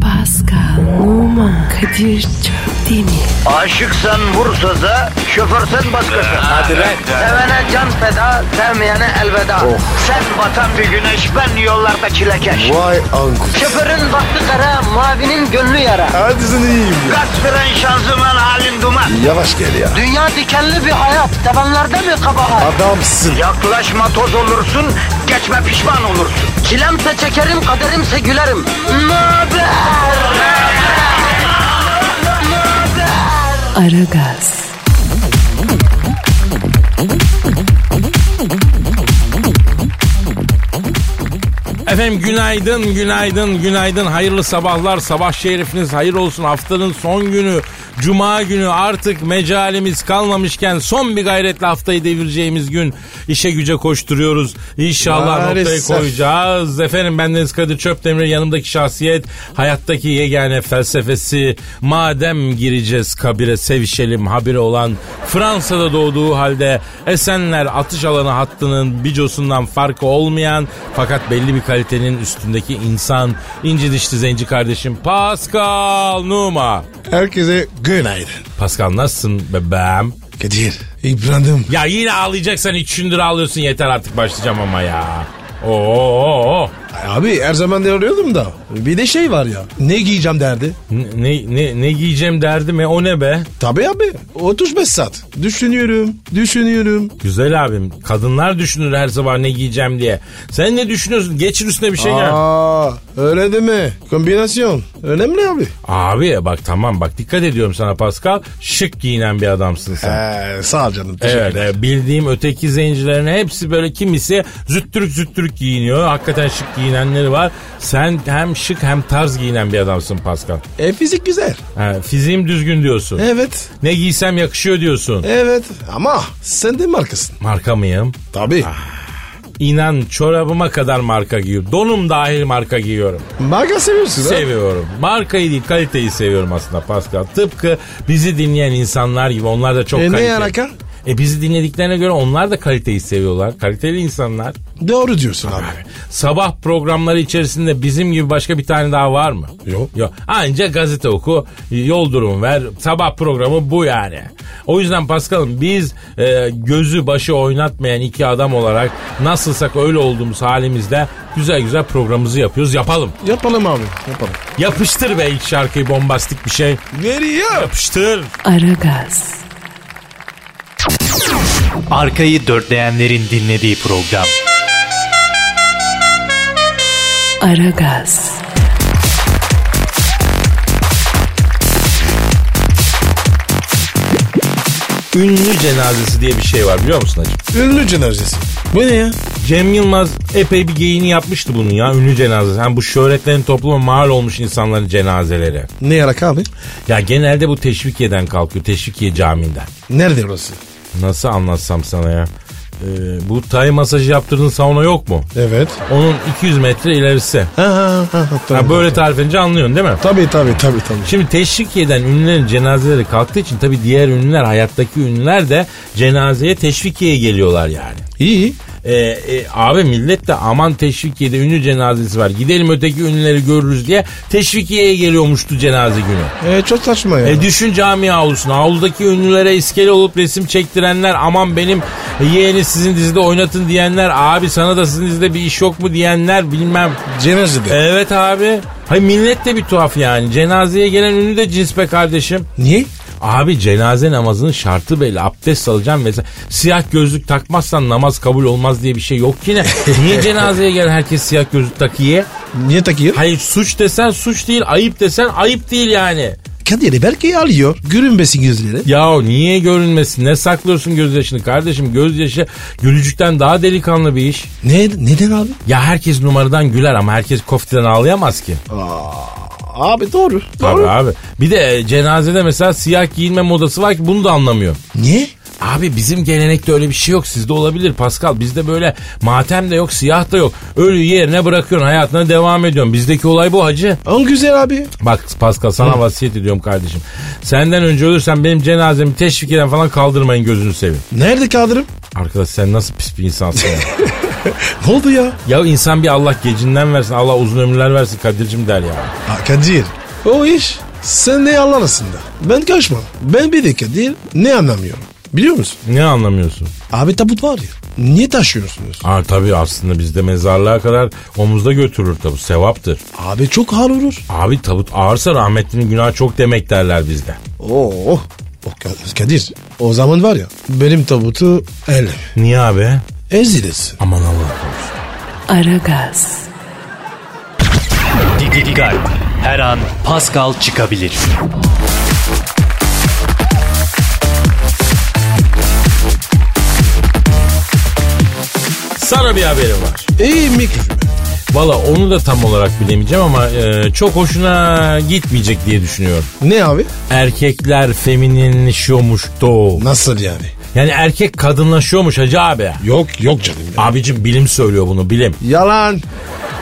Pascal, Oman, Kadir çok değil mi? Aşıksan vursa da şoförsen başkasın. Hadi lan. Oh. Sevene can feda, sevmeyene elveda. Sen batan bir güneş, ben yollarda çilekeş. Vay anku. Şoförün baktı kara, mavinin gönlü yara. Hadi sen iyiyim ya. Kasperen şanzıman halin duman. Yavaş gel ya. Dünya dikenli bir hayat, sevenlerde mi kabahar? Adamsın. Yaklaşma toz olursun, geçme pişman olursun. Çilemse çekerim, kaderimse gülerim. Möber! Aragaz, Efendim günaydın, günaydın, günaydın. Hayırlı sabahlar, sabah şerifiniz hayır olsun. Haftanın son günü, cuma günü artık mecalimiz kalmamışken son bir gayretle haftayı devireceğimiz gün işe güce koşturuyoruz. İnşallah noktayı Maalesef. koyacağız. Efendim bendeniz Kadir Çöptemir, yanımdaki şahsiyet, hayattaki yegane felsefesi. Madem gireceğiz kabire sevişelim habire olan Fransa'da doğduğu halde Esenler atış alanı hattının bicosundan farkı olmayan fakat belli bir kalitenin üstündeki insan inci dişli zenci kardeşim Pascal Numa. Herkese günaydın. Pascal nasılsın bebeğim? Kadir. İbrahim. Ya yine ağlayacaksan hiç şündür ağlıyorsun yeter artık başlayacağım ama ya. Oo. Abi her zaman de arıyordum da. Bir de şey var ya. Ne giyeceğim derdi. Ne, ne, ne giyeceğim derdim e o ne be? Tabii abi. 35 saat. Düşünüyorum. Düşünüyorum. Güzel abim kadınlar düşünür her sabah ne giyeceğim diye. Sen ne düşünüyorsun? Geçir üstüne bir şey gel. Aa, öyle deme. Kombinasyon. Önemli abi. Abi bak tamam bak dikkat ediyorum sana Pascal. Şık giyinen bir adamsın sen. Ee, sağ ol canım. Evet, teşekkürler. e, bildiğim öteki zencilerin hepsi böyle kimisi züttürük züttürük giyiniyor. Hakikaten şık giyinenleri var. Sen hem şık hem tarz giyinen bir adamsın Pascal. E, fizik güzel. Ha, fiziğim düzgün diyorsun. E? Evet. Ne giysem yakışıyor diyorsun. Evet. Ama sen de markasın. Marka mıyım? Tabii. İnan çorabıma kadar marka giyiyorum. Donum dahil marka giyiyorum. Marka seviyorsun ha? Seviyorum. Markayı değil kaliteyi seviyorum aslında Pascal. Tıpkı bizi dinleyen insanlar gibi onlar da çok E, ne kaliteli. alaka? E bizi dinlediklerine göre onlar da kaliteyi seviyorlar. Kaliteli insanlar. Doğru diyorsun abi. Sabah programları içerisinde bizim gibi başka bir tane daha var mı? Yok. Yok. Anca gazete oku, yol durumu ver. Sabah programı bu yani. O yüzden Paskal'ım biz e, gözü başı oynatmayan iki adam olarak nasılsak öyle olduğumuz halimizde güzel güzel programımızı yapıyoruz. Yapalım. Yapalım abi. Yapalım. Yapıştır be ilk şarkıyı bombastik bir şey. Veriyor. Yapıştır. Aragaz, Arkayı dörtleyenlerin dinlediği program. Aragaz, Ünlü cenazesi diye bir şey var biliyor musun hacı? Ünlü cenazesi. Bu ne ya? Cem Yılmaz epey bir geyini yapmıştı bunun ya ünlü cenazesi. Hem bu şöhretlerin topluma mal olmuş insanların cenazeleri. Ne yarak abi? Ya genelde bu Teşvikiye'den kalkıyor. Teşvikiye Camii'nden. Nerede orası? Nasıl anlatsam sana ya? Ee, bu tay masajı yaptırdığın sauna yok mu? Evet. Onun 200 metre ilerisi. Ha ha ha. ha, Ha, tamam. böyle tarif edince anlıyorsun değil mi? Tabii tabii tabii tabii. Şimdi teşvikiye'den ünlülerin cenazeleri kalktığı için tabii diğer ünlüler hayattaki ünlüler de cenazeye teşvikiyeye geliyorlar yani. İyi. Ee, e, abi millet de aman teşvikiyede ünlü cenazesi var gidelim öteki ünlüleri görürüz diye teşvikiyeye geliyormuştu cenaze günü. E, çok saçma ya. E düşün cami avlusuna. Avludaki ünlülere iskele olup resim çektirenler aman benim yeğeni sizin dizide oynatın diyenler abi sana da sizin dizide bir iş yok mu diyenler bilmem. Cenazede. Evet abi. Hayır millet de bir tuhaf yani. Cenazeye gelen ünlü de cins be kardeşim. Niye? Abi cenaze namazının şartı belli. Abdest alacağım vesaire. Siyah gözlük takmazsan namaz kabul olmaz diye bir şey yok ki ne? Niye cenazeye gelen herkes siyah gözlük takıyor? Niye takıyor? Hayır suç desen suç değil, ayıp desen ayıp değil yani. Kadir'i belki alıyor. Görünmesin gözleri. Ya niye görünmesin? Ne saklıyorsun gözyaşını kardeşim? Gözyaşı gülücükten daha delikanlı bir iş. Ne, neden abi? Ya herkes numaradan güler ama herkes koftiden ağlayamaz ki. Abi doğru. Tabii abi. Bir de e, cenazede mesela siyah giyinme modası var ki bunu da anlamıyor. Niye? Abi bizim gelenekte öyle bir şey yok. Sizde olabilir Pascal. Bizde böyle matem de yok, siyah da yok. Ölü yerine bırakıyorsun, hayatına devam ediyorsun. Bizdeki olay bu hacı. On güzel abi. Bak Pascal sana vasiyet ediyorum kardeşim. Senden önce ölürsen benim cenazemi teşvik eden falan kaldırmayın gözünü seveyim. Nerede Kadir'im? Arkadaş sen nasıl pis bir insansın ya. Ne oldu ya? ya insan bir Allah gecinden versin, Allah uzun ömürler versin Kadir'cim der ya. Ha, Kadir. O iş sen ne yalan aslında. Ben kaçmam. Ben bir dakika değil ne anlamıyorum. Biliyor musun? Ne anlamıyorsun? Abi tabut var ya. Niye taşıyorsunuz? Aa tabii aslında bizde mezarlığa kadar omuzda götürür tabu sevaptır. Abi çok hal olur. Abi tabut ağırsa rahmetlinin günahı çok demek derler bizde. Oo. O Ka- Oh, Kadir o zaman var ya benim tabutu el Niye abi? ezilirsin. Aman Allah. Aragaz, Didi Digal. Her an Pascal çıkabilir. Sana bir haberim var. İyi mikrofon. Valla onu da tam olarak bilemeyeceğim ama e, çok hoşuna gitmeyecek diye düşünüyorum. Ne abi? Erkekler femininleşiyormuş doğu. Nasıl yani? Yani erkek kadınlaşıyormuş hacı abi. Yok yok canım. ya. Abicim bilim söylüyor bunu bilim. Yalan.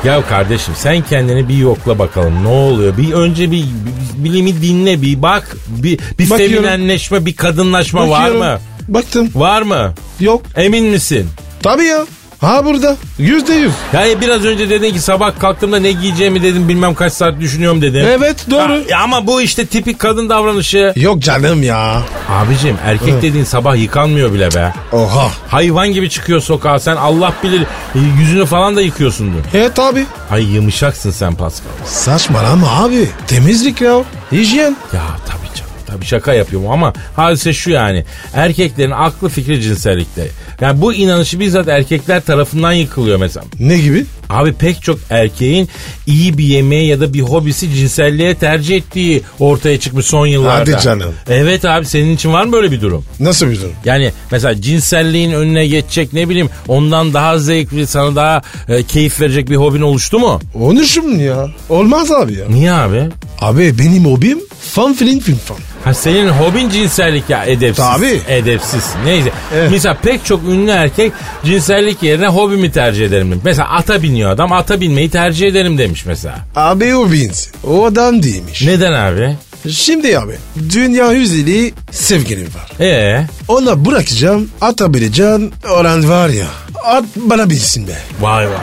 Ya kardeşim sen kendini bir yokla bakalım ne oluyor? Bir önce bir, bir bilimi dinle bir bak. Bir, bir Bakıyorum. feminenleşme bir kadınlaşma Bakıyorum. var mı? Baktım. Var mı? Yok. Emin misin? Tabii ya. Ha burada. Yüzde yüz. Yani biraz önce dedin ki sabah kalktığımda ne giyeceğimi dedim bilmem kaç saat düşünüyorum dedin. Evet, doğru. E, Ha, Ya, ama bu işte tipik kadın davranışı. Yok canım ya. Abicim erkek dediğin sabah yıkanmıyor bile be. Oha. Hayvan gibi çıkıyor sokağa sen Allah bilir e, yüzünü falan da yıkıyorsundur. Evet abi. Ay yumuşaksın sen Pascal. Saçmalama abi. Temizlik ya. Hijyen. Ya tabii canım. Tabii şaka yapıyorum ama hadise şu yani. Erkeklerin aklı fikri cinsellikte. Yani bu inanışı bizzat erkekler tarafından yıkılıyor mesela. Ne gibi? Abi pek çok erkeğin iyi bir yemeği ya da bir hobisi cinselliğe tercih ettiği ortaya çıkmış son yıllarda. Hadi canım. Evet abi senin için var mı böyle bir durum? Nasıl bir durum? Yani mesela cinselliğin önüne geçecek ne bileyim ondan daha zevkli sana daha e, keyif verecek bir hobin oluştu mu? Onu şimdi ya. Olmaz abi ya. Niye abi? Abi benim hobim fan filin film fan. Ha senin hobin cinsellik ya edepsiz. Tabii. Edepsiz. Neyse. Evet. Mesela pek çok ünlü erkek cinsellik yerine hobimi tercih ederim demiş. Mesela ata biniyor adam ata binmeyi tercih ederim demiş mesela. Abi o Vince. O adam değilmiş. Neden abi? Şimdi abi. Dünya yüzeli sevgilim var. Ee Ona bırakacağım. Ata bineceğim. Oran var ya. At bana bilsin be. vay vay vay.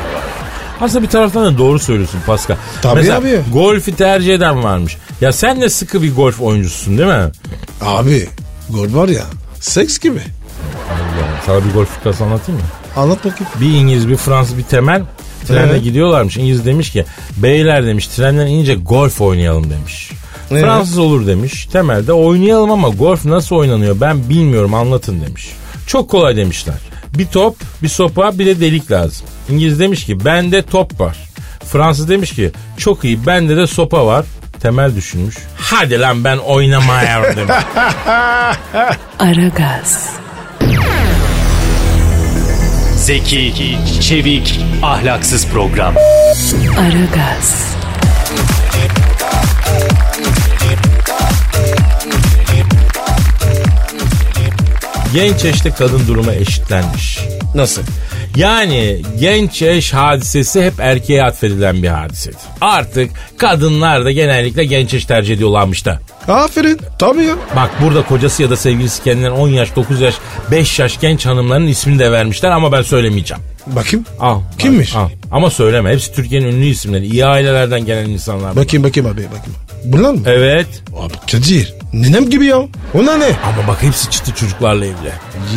Aslında bir taraftan da doğru söylüyorsun Pascal. Tabii Mesela abi. golfi tercih eden varmış. Ya sen de sıkı bir golf oyuncususun değil mi? Abi. Gol var ya. Seks gibi. Allah, sana bir golf fıkrası anlatayım mı? Anlat bakayım. Bir İngiliz bir Fransız bir temel trenle Evet. gidiyorlarmış. İngiliz demiş ki beyler demiş trenden inince golf oynayalım demiş. Evet. Fransız olur demiş. Temelde oynayalım ama golf nasıl oynanıyor ben bilmiyorum anlatın demiş. Çok kolay demişler. Bir top, bir sopa, bir de delik lazım. İngiliz demiş ki bende top var. Fransız demiş ki çok iyi bende de sopa var. Temel düşünmüş. Hadi lan ben oynamaya demiş. Aragaz, Zeki, çevik, ahlaksız program. Aragaz, Genç yaşta kadın durumu eşitlenmiş. Nasıl? Yani genç eş hadisesi hep erkeğe atfedilen bir hadisedir. Artık kadınlar da genellikle genç eş tercih ediyorlarmış da. Aferin. Tabii ya. Bak burada kocası ya da sevgilisi kendinden 10 yaş, 9 yaş, 5 yaş genç hanımların ismini de vermişler ama ben söylemeyeceğim. Bakayım. Al. Kimmiş? Al. Ama söyleme. Hepsi Türkiye'nin ünlü isimleri. İyi ailelerden gelen insanlar. Bakayım bakayım abi bakayım. Bunlar mı? Evet. Abi Kadir. Nenem gibi ya. Ona ne? Ama bak hepsi çıtı çocuklarla evli.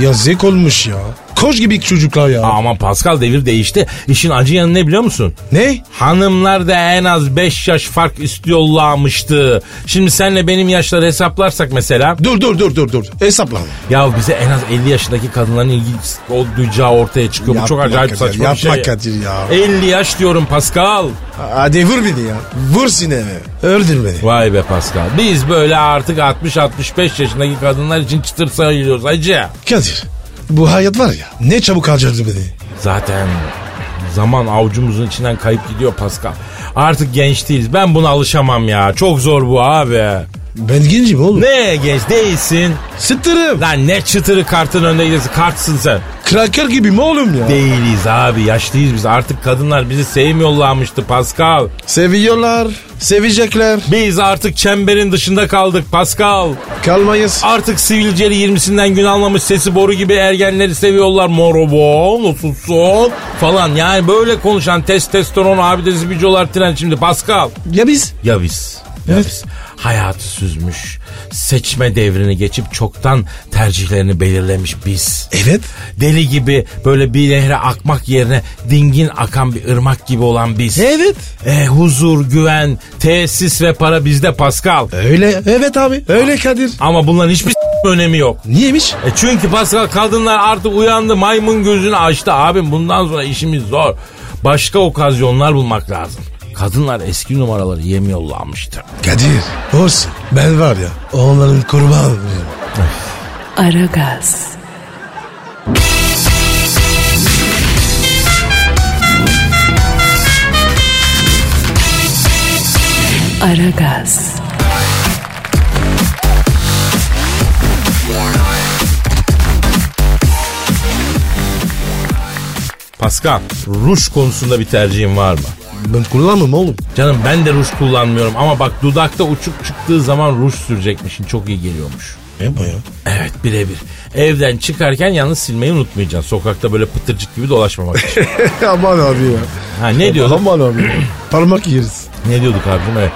Yazık olmuş ya. Koş gibi çocuklar ya. Ama Pascal devir değişti. İşin acı yanı ne biliyor musun? Ne? Hanımlar da en az 5 yaş fark istiyorlarmıştı. Şimdi senle benim yaşları hesaplarsak mesela. Dur dur dur dur dur. Hesaplama. Ya bize en az 50 yaşındaki kadınların ilgi o duyacağı ortaya çıkıyor. Bu çok Yapma acayip Kadir, saçma bir şey. yapma Kadir ya. 50 yaş diyorum Pascal. Hadi vur beni ya. Vur sineme. Öldür beni. Vay be Pascal. Biz böyle artık 60-65 yaşındaki kadınlar için çıtır sayılıyoruz acı. Kadir. Bu hayat var ya. Ne çabuk harcadı beni. Zaten zaman avucumuzun içinden kayıp gidiyor Pascal. Artık genç değiliz. Ben buna alışamam ya. Çok zor bu abi. Ben gencim oğlum. Ne genç değilsin. Sıtırım. Lan ne çıtırı kartın önünde gidiyorsun. Kartsın sen. Kraker gibi mi oğlum ya? Değiliz abi. Yaşlıyız biz. Artık kadınlar bizi sevmiyorlarmıştı Pascal. Seviyorlar. Sevecekler. Biz artık çemberin dışında kaldık Pascal. Kalmayız. Artık sivilceli 20'sinden gün almamış sesi boru gibi ergenleri seviyorlar. Morobo, nasılsın falan. Yani böyle konuşan testosteron abidesi bücüyorlar tren şimdi Pascal. Ya biz? Ya biz? Ya biz hayatı süzmüş, seçme devrini geçip çoktan tercihlerini belirlemiş biz. Evet. Deli gibi böyle bir nehre akmak yerine dingin akan bir ırmak gibi olan biz. Evet. E, huzur, güven, tesis ve para bizde Pascal. Öyle. Evet abi. Öyle Kadir. Ama bunların hiçbir önemi yok. Niyemiş? E çünkü Pascal kadınlar artık uyandı maymun gözünü açtı abim bundan sonra işimiz zor. Başka okazyonlar bulmak lazım. Kadınlar eski numaraları yemiyorlarmıştı. Kadir. Olsun. Ben var ya. Onların kurbanı. olayım. Aragaz, Aragaz, Pascal, ruj konusunda bir tercihin var mı? Ben kullanmam oğlum. Canım ben de ruj kullanmıyorum ama bak dudakta uçuk çıktığı zaman ruj sürecekmişin çok iyi geliyormuş. Yapma ya. Evet birebir. Evden çıkarken yalnız silmeyi unutmayacaksın. Sokakta böyle pıtırcık gibi dolaşmamak için. Aman abi ya. Ha ne diyorduk? Aman abi. ya. Parmak yeriz. Ne diyorduk abicim? Evet.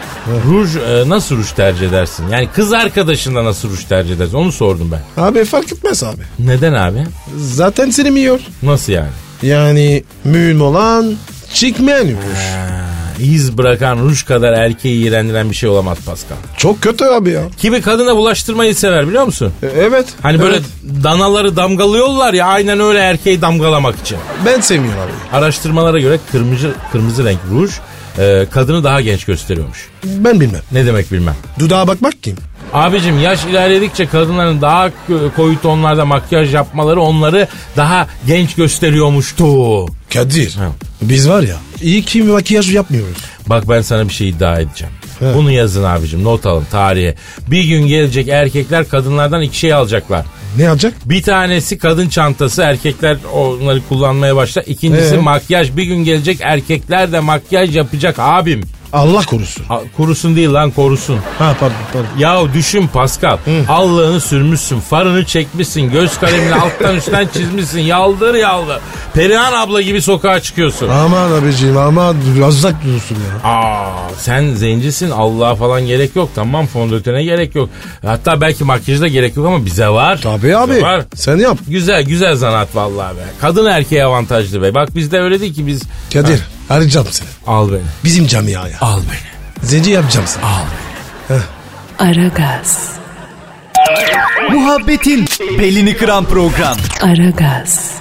Ruj e, nasıl ruj tercih edersin? Yani kız arkadaşında nasıl ruj tercih edersin? Onu sordum ben. Abi fark etmez abi. Neden abi? Zaten silmiyor. Nasıl yani? Yani mühim olan çıkmayan yürüyüş. Ha, İz bırakan ruj kadar erkeği iğrendiren bir şey olamaz Pascal. Çok kötü abi ya. Kimi kadına bulaştırmayı sever biliyor musun? E, Evet. Hani böyle Evet. danaları damgalıyorlar ya aynen öyle erkeği damgalamak için. Ben sevmiyorum abi. Araştırmalara göre kırmızı kırmızı renk ruj e, kadını daha genç gösteriyormuş. Ben bilmem. Ne demek bilmem. Dudağa bakmak kim? Abicim yaş ilerledikçe kadınların daha k- koyu tonlarda makyaj yapmaları onları daha genç gösteriyormuştu. Kadir. Ha. Biz var ya iyi ki makyaj yapmıyoruz. Bak ben sana bir şey iddia edeceğim. He. Bunu yazın abicim not alın tarihe. Bir gün gelecek erkekler kadınlardan iki şey alacaklar. Ne yapacak? Bir tanesi kadın çantası erkekler onları kullanmaya başlar. İkincisi Ee? makyaj bir gün gelecek erkekler de makyaj yapacak abim. Allah korusun. A- Kurusun değil lan korusun. Ha pardon pardon. Ya düşün Pascal. Allığını sürmüşsün, farını çekmişsin, göz kalemini alttan üstten çizmişsin. Yaldır yaldır. Perihan abla gibi sokağa çıkıyorsun. Aman abiciğim aman biraz uzak durursun ya. Aa, sen zencisin Allah'a falan gerek yok tamam fondötene gerek yok. Hatta belki makyaja da gerek yok ama bize var. Tabii abi. Bize var. Sen yap. Güzel güzel zanaat vallahi be. Kadın erkeğe avantajlı be. Bak bizde öyle değil ki biz. Kadir Ha, arayacağım seni. al beni. Bizim camiaya. Al beni. Zenci yapacağım seni. Al beni. Aragaz, Muhabbetin belini kıran program. Aragaz,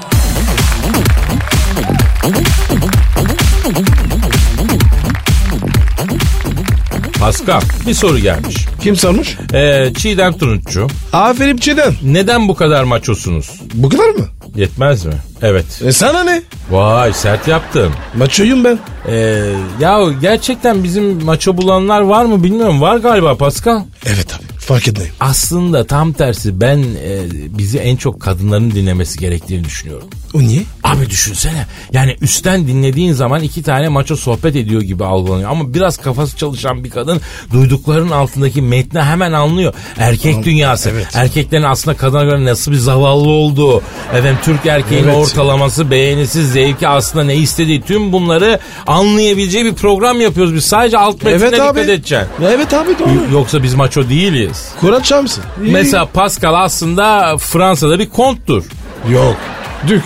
Pascal bir soru gelmiş. Kim sormuş? Ee, Çiğdem Tunutçu. Aferin Çiğdem. Neden bu kadar maçosunuz? Bu kadar mı? Yetmez mi? Evet. E sana ne? Vay sert yaptın. Maçoyum ben. Ee, ya gerçekten bizim maço bulanlar var mı bilmiyorum. Var galiba Pascal. Evet abi fark etmeyim. Aslında tam tersi ben e, bizi en çok kadınların dinlemesi gerektiğini düşünüyorum. O niye? Abi düşünsene yani üstten dinlediğin zaman iki tane maço sohbet ediyor gibi algılanıyor. Ama biraz kafası çalışan bir kadın duyduklarının altındaki metni hemen anlıyor. Erkek dünyası. Erkeklerin aslında kadına göre nasıl bir zavallı olduğu. Efendim Türk erkeğinin Evet. ortalaması, beğenisi, zevki aslında ne istediği tüm bunları anlayabileceği bir program yapıyoruz. Biz sadece alt metnine Evet dikkat abi. edeceksin. Evet abi doğru. Yoksa biz maço değiliz. Kurat Şamsın. Mesela Pascal aslında Fransa'da bir konttur. Yok. Dük.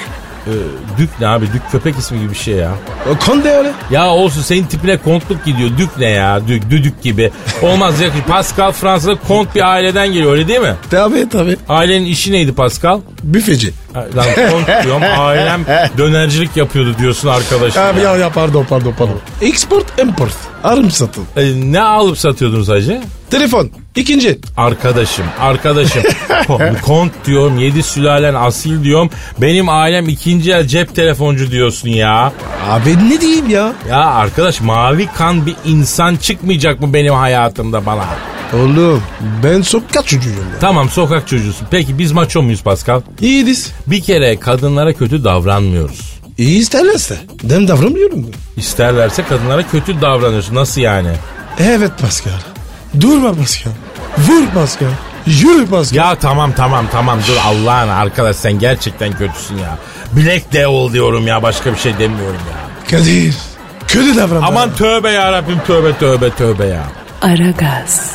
Ee, Dük ne abi? Dük köpek ismi gibi bir şey ya. O konde öyle. Ya olsun senin tipine kontluk gidiyor. Dük ne ya? Dük, düdük gibi. Olmaz yakın. Pascal Fransa'da kont bir aileden geliyor öyle değil mi? Tabii tabii. Ailenin işi neydi Pascal? Büfeci. Ha, Lan kont diyorum ailem dönercilik yapıyordu diyorsun arkadaşım. Abi ya. ya, ya pardon pardon pardon. Export import. Arım satın. Ee, ne alıp satıyordunuz hacı? Telefon. İkinci. Arkadaşım, arkadaşım. Ko- Kont diyorum, yedi sülalen asil diyorum. Benim ailem ikinci el cep telefoncu diyorsun ya. Abi ne diyeyim ya? Ya arkadaş mavi kan bir insan çıkmayacak mı benim hayatımda bana? Oğlum ben sokak çocuğuyum ya. Tamam sokak çocuğusun. Peki biz maço muyuz Pascal? İyiyiz. Bir kere kadınlara kötü davranmıyoruz. İyi isterlerse. Ben davranmıyorum. İsterlerse kadınlara kötü davranıyorsun. Nasıl yani? Evet Pascal. Durma Pascal. Vur Pascal. Yürü Pascal. Ya tamam tamam tamam dur Allah'ın arkadaş sen gerçekten kötüsün ya. Black Devil diyorum ya başka bir şey demiyorum ya. Kadir. Kötü davranma. Aman tövbe ya Rabbim tövbe tövbe tövbe ya. Aragaz, Aragaz,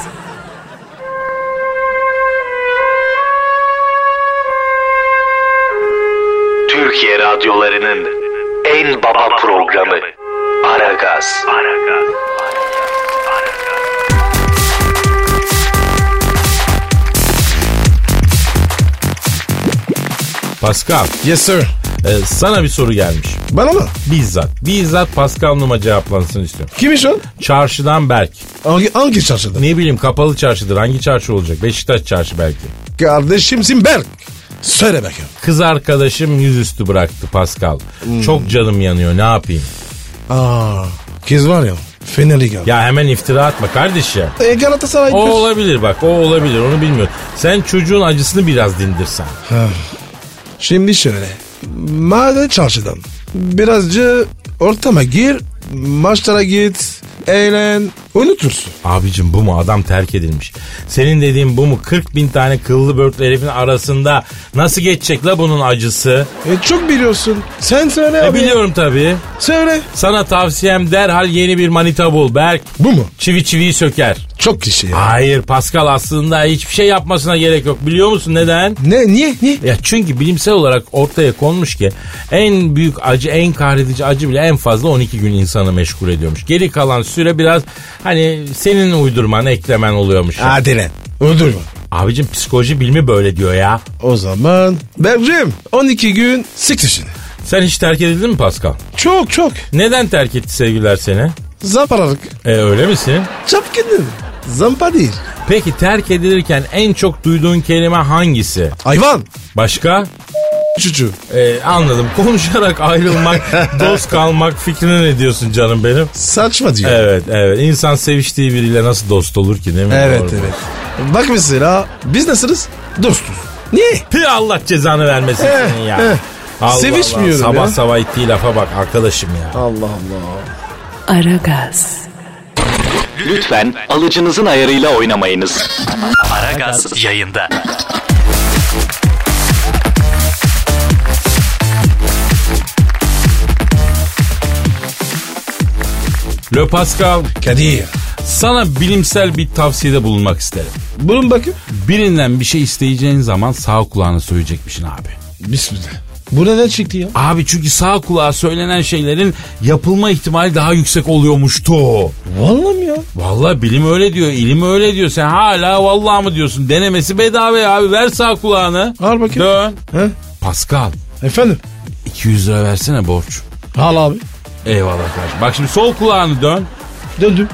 Türkiye radyolarının en baba programı Aragaz. Pascal Yes sir. e, sana bir soru gelmiş. Bana mı? Bizzat. Bizzat Pascal Numa cevaplansın istiyorum. Kimmiş o? Çarşıdan Berk. Hangi, hangi çarşıda? Ne bileyim kapalı çarşıdır. Hangi çarşı olacak? Beşiktaş çarşı belki. Kardeşimsin Berk. Söyle bakayım. Kız arkadaşım yüzüstü bıraktı Pascal. Çok canım yanıyor ne yapayım? Aa, kız var ya. Fenerli geldi. Ya hemen iftira atma kardeş ya. E, Galatasaray. O olabilir bak o olabilir onu bilmiyorum. Sen çocuğun acısını biraz dindirsen. Şimdi şöyle. Madem çarşıdan. Birazcık ortama gir. Maçlara git. Eğlen. Unutursun. Abicim bu mu adam terk edilmiş. Senin dediğin bu mu 40 bin tane kıllı börtlü herifin arasında nasıl geçecek la bunun acısı? E, çok biliyorsun. Sen söyle E abi. biliyorum tabii. Söyle. Sana tavsiyem derhal yeni bir manita bul Berk. Bu mu? Çivi çiviyi söker. Çok kişi ya. Hayır Pascal aslında hiçbir şey yapmasına gerek yok. Biliyor musun neden? Ne? Niye? Niye? Ya çünkü bilimsel olarak ortaya konmuş ki en büyük acı, en kahredici acı bile en fazla 12 gün insanı meşgul ediyormuş. Geri kalan süre biraz hani senin uydurman, eklemen oluyormuş. Hadi lan. Uydurma. Abicim psikoloji bilimi böyle diyor ya. O zaman Berk'cim 12 gün sik dişini. Sen hiç terk edildin mi Pascal? Çok çok. Neden terk etti sevgiler seni? Zamparalık. E öyle misin? Çapkınlık. Zampa değil. Peki terk edilirken en çok duyduğun kelime hangisi? Hayvan. Başka? Çocuğu. E, anladım. Konuşarak ayrılmak, dost kalmak fikrine ne diyorsun canım benim? Saçma diyor. Evet evet. İnsan seviştiği biriyle nasıl dost olur ki değil mi? Evet Doğru. evet. Bak mesela biz nasılız? Dostuz. Niye? Pi Allah cezanı vermesin Eh, senin ya. eh. Allah Sevişmiyorum Allah. Sabah ya. sabah ettiği lafa bak arkadaşım ya. Aragaz, Lütfen alıcınızın ayarıyla oynamayınız. Aragaz yayında. Le Pascal Kadir. sana bilimsel bir tavsiyede bulunmak isterim. Bunun bakın. Birinden bir şey isteyeceğin zaman sağ kulağını söyleyecekmişsin abi. Bismillah. Bu neden çıktı ya? Abi çünkü sağ kulağa söylenen şeylerin yapılma ihtimali daha yüksek oluyormuştu. Vallahi mi ya? Vallahi bilim öyle diyor, ilim öyle diyor. Sen hala vallahi mı diyorsun? Denemesi bedava ya abi. Ver sağ kulağını. Al bakayım. Dön. He? Pascal. Efendim? 200 lira versene borç. Al abi. Eyvallah kardeşim. Bak şimdi sol kulağını dön. Döndüm.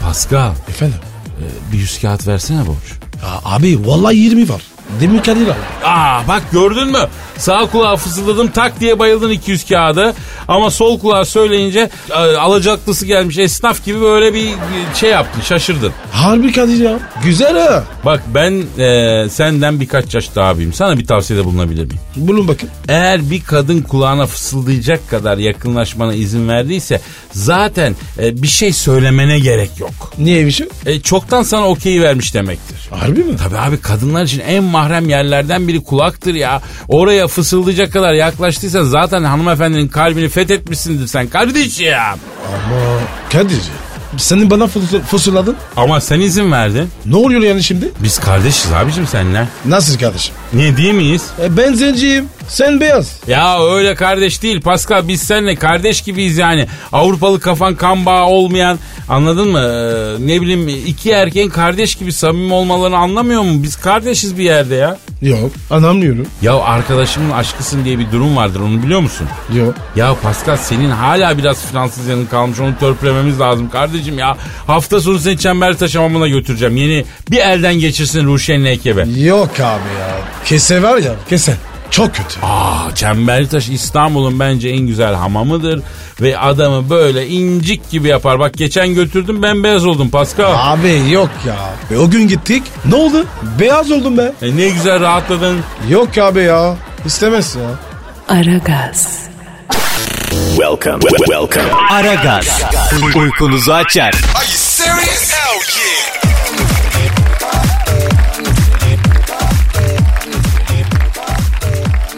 Pascal Efendim? e, bir yüz kağıt versene borç. Ya abi vallahi 20 var. Demin Kadir abi. Aa bak gördün mü? Sağ kulağa fısıldadım tak diye bayıldın 200 kağıda. Ama sol kulağa söyleyince e, alacaklısı gelmiş esnaf gibi böyle bir e, şey yaptın şaşırdın. Harbi Kadir ya. Güzel ha. Bak ben e, senden birkaç yaş daha büyüğüm. Sana bir tavsiyede bulunabilir miyim? Bulun bakın. Eğer bir kadın kulağına fısıldayacak kadar yakınlaşmana izin verdiyse zaten e, bir şey söylemene gerek yok. Niye bir şey? E, çoktan sana okeyi vermiş demektir. Harbi mi? Tabii abi kadınlar için en mahrem yerlerden biri kulaktır ya. Oraya fısıldayacak kadar yaklaştıysan zaten hanımefendinin kalbini fethetmişsindir sen kardeşim. Ama Kadir. Senin bana fıs- fısıldadın. Ama sen izin verdin. Ne oluyor yani şimdi? Biz kardeşiz abicim seninle. Nasıl kardeşim? Niye değil miyiz? E ben zenciyim. Sen beyaz. Ya öyle kardeş değil Pascal biz seninle kardeş gibiyiz yani. Avrupalı kafan kan bağı olmayan anladın mı? Ee, ne bileyim iki erkeğin kardeş gibi samimi olmalarını anlamıyor mu? Biz kardeşiz bir yerde ya. Yok. Anlamıyorum. Ya arkadaşımın aşkısın diye bir durum vardır onu biliyor musun? Yok. Ya Pascal senin hala biraz Fransız yanın kalmış onu törpülememiz lazım kardeşim ya. Hafta sonu seni çember taşamamına götüreceğim. Yeni bir elden geçirsin Ruşen'in ekibi. Yok abi ya. Kese var ya. Kese. Çok kötü. Aa, Çemberlitaş İstanbul'un bence en güzel hamamıdır. Ve adamı böyle incik gibi yapar. Bak geçen götürdüm ben beyaz oldum Pascal. Abi yok ya. E, o gün gittik. Ne oldu? Beyaz oldum be. E, ne güzel rahatladın. Yok abi ya. İstemez ya. Aragaz, Welcome. Welcome. Aragaz. Uykunuzu açar.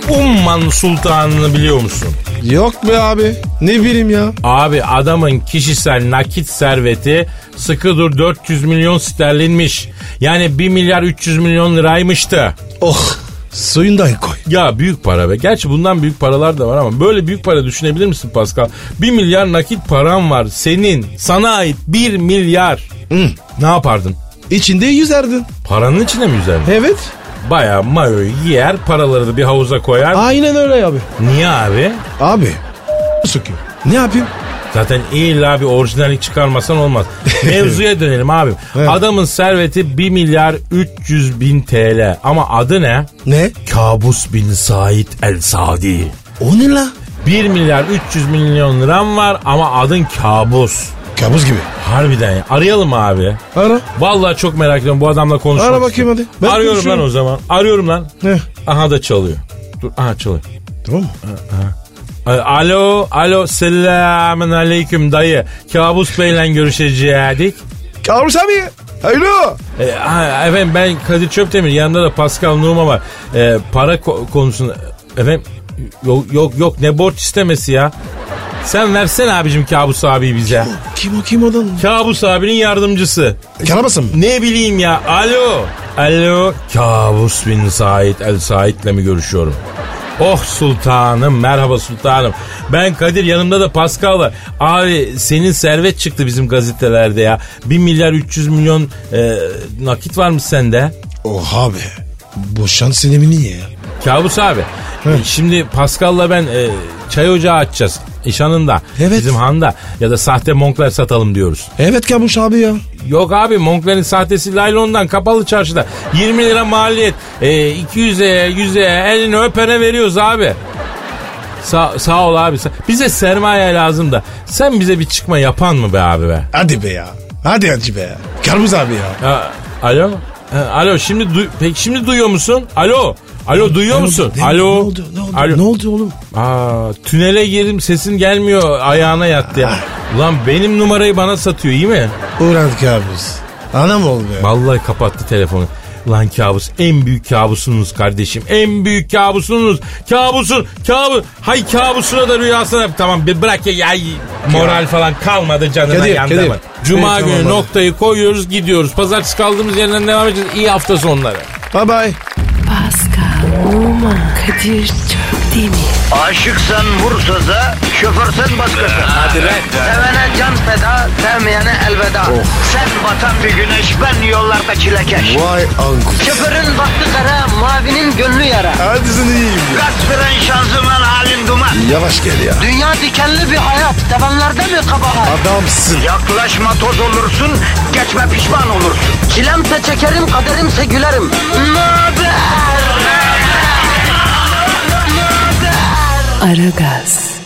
Umman Sultanı'nı biliyor musun? Yok be abi. Ne bileyim ya. Abi adamın kişisel nakit serveti Sıkı dur 400 milyon sterlinmiş. Yani 1 milyar 300 milyon liraymıştı. Oh suyundan koy. Ya büyük para be. Gerçi bundan büyük paralar da var ama böyle büyük para düşünebilir misin Pascal? 1 milyar nakit param var. Senin, sana ait 1 milyar. Hı. Ne yapardın? İçinde yüzerdin. Paranın içine mi yüzerdin? Evet. Bayağı mayoyu giyer, paraları da bir havuza koyar. Aynen öyle abi. Niye abi? Abi. Sokuyor. Ne yapayım? Zaten illa bir orijinallik çıkarmasan olmaz. Mevzuya dönelim abim. Evet. Adamın serveti 1 milyar 300 bin TL. Ama adı ne? Ne? Kabus bin Said El Sadi. O ne la? 1 milyar 300 milyon liram var ama adın kabus. Kabus gibi. Harbiden ya. Arayalım abi. Ara. Vallahi çok merak ediyorum bu adamla konuşmak Ara bakayım istiyorum. hadi. Ben Arıyorum lan konuşuyorum. o zaman. Arıyorum lan. Ne? Aha da çalıyor. Dur aha çalıyor. Tamam mı? A- Alo, alo, selamın aleyküm dayı. Kabus Bey'le görüşecektik. Kabus abi. Alo. E, ha, efendim ben Kadir Çöptemir, yanımda da Pascal Numa var. E, para ko- konusunda... Efendim yok, yok yok ne borç istemesi ya. Sen versene abicim Kabus abi bize. Kim o kim adam? Kabus abinin yardımcısı. Karabasan mı? Ne bileyim ya. Alo. Alo. Kabus bin Said El Said'le mi görüşüyorum? Oh sultanım merhaba sultanım. Ben Kadir yanımda da Pascal var. Abi senin servet çıktı bizim gazetelerde ya. 1 milyar 300 milyon e, nakit var mı sende? Oha be. Bu şans mi niye ya? Kabus abi. e, Şimdi Pascal'la ben e, çay ocağı açacağız. İş anında. Evet. Bizim handa. Ya da sahte monklar satalım diyoruz. Evet Kabus abi ya. Yok abi Moncler'in sahtesi laylondan kapalı çarşıda. 20 lira maliyet. E, 200'e 100'e elini öpene veriyoruz abi. Sa- sağ ol abi. Sa- bize sermaye lazım da. Sen bize bir çıkma yapan mı be abi be? Hadi be ya. Hadi hadi be. Kabus abi ya. Ha, alo? Ha, alo şimdi du- peki şimdi duyuyor musun? Alo? Alo duyuyor musun? Ne- Alo? Ne oldu? Ne oldu? Alo. Ne oldu oğlum? Aa, tünele girdim sesin gelmiyor ayağına yattı ya. Ulan benim numarayı bana satıyor iyi mi? Uğran kabus. Anam oldu be. Vallahi kapattı telefonu. Lan kabus en büyük kabusunuz kardeşim. En büyük kabusunuz. Kabusun kabus. Hay kabusuna da rüyasına. Tamam bir bırak ya. Ay, moral falan kalmadı canına Kadir, yandı Kadir. ama. Cuma Evet, günü tamam, noktayı koyuyoruz gidiyoruz. Pazartesi kaldığımız yerden devam edeceğiz. İyi hafta sonları. Bye bye. Pascal, Oman, Kadir çok değil mi? Aşıksan vursa da, şoförsen başkasın. Hadi lan. Sevene can feda, sevmeyene elveda. Sen batan bir güneş, ben yollarda çilekeş. Vay anku. Şoförün baktı kara, mavinin gönlü yara. Hadi sen iyiyim ya. Kasperen şanzıman halin duman. Yavaş gel ya. Dünya dikenli bir hayat, sevenlerde mi kabahar? Adamsın. Yaklaşma toz olursun, geçme pişman olursun. Çilemse çekerim, kaderimse gülerim. Möber! Aragaz.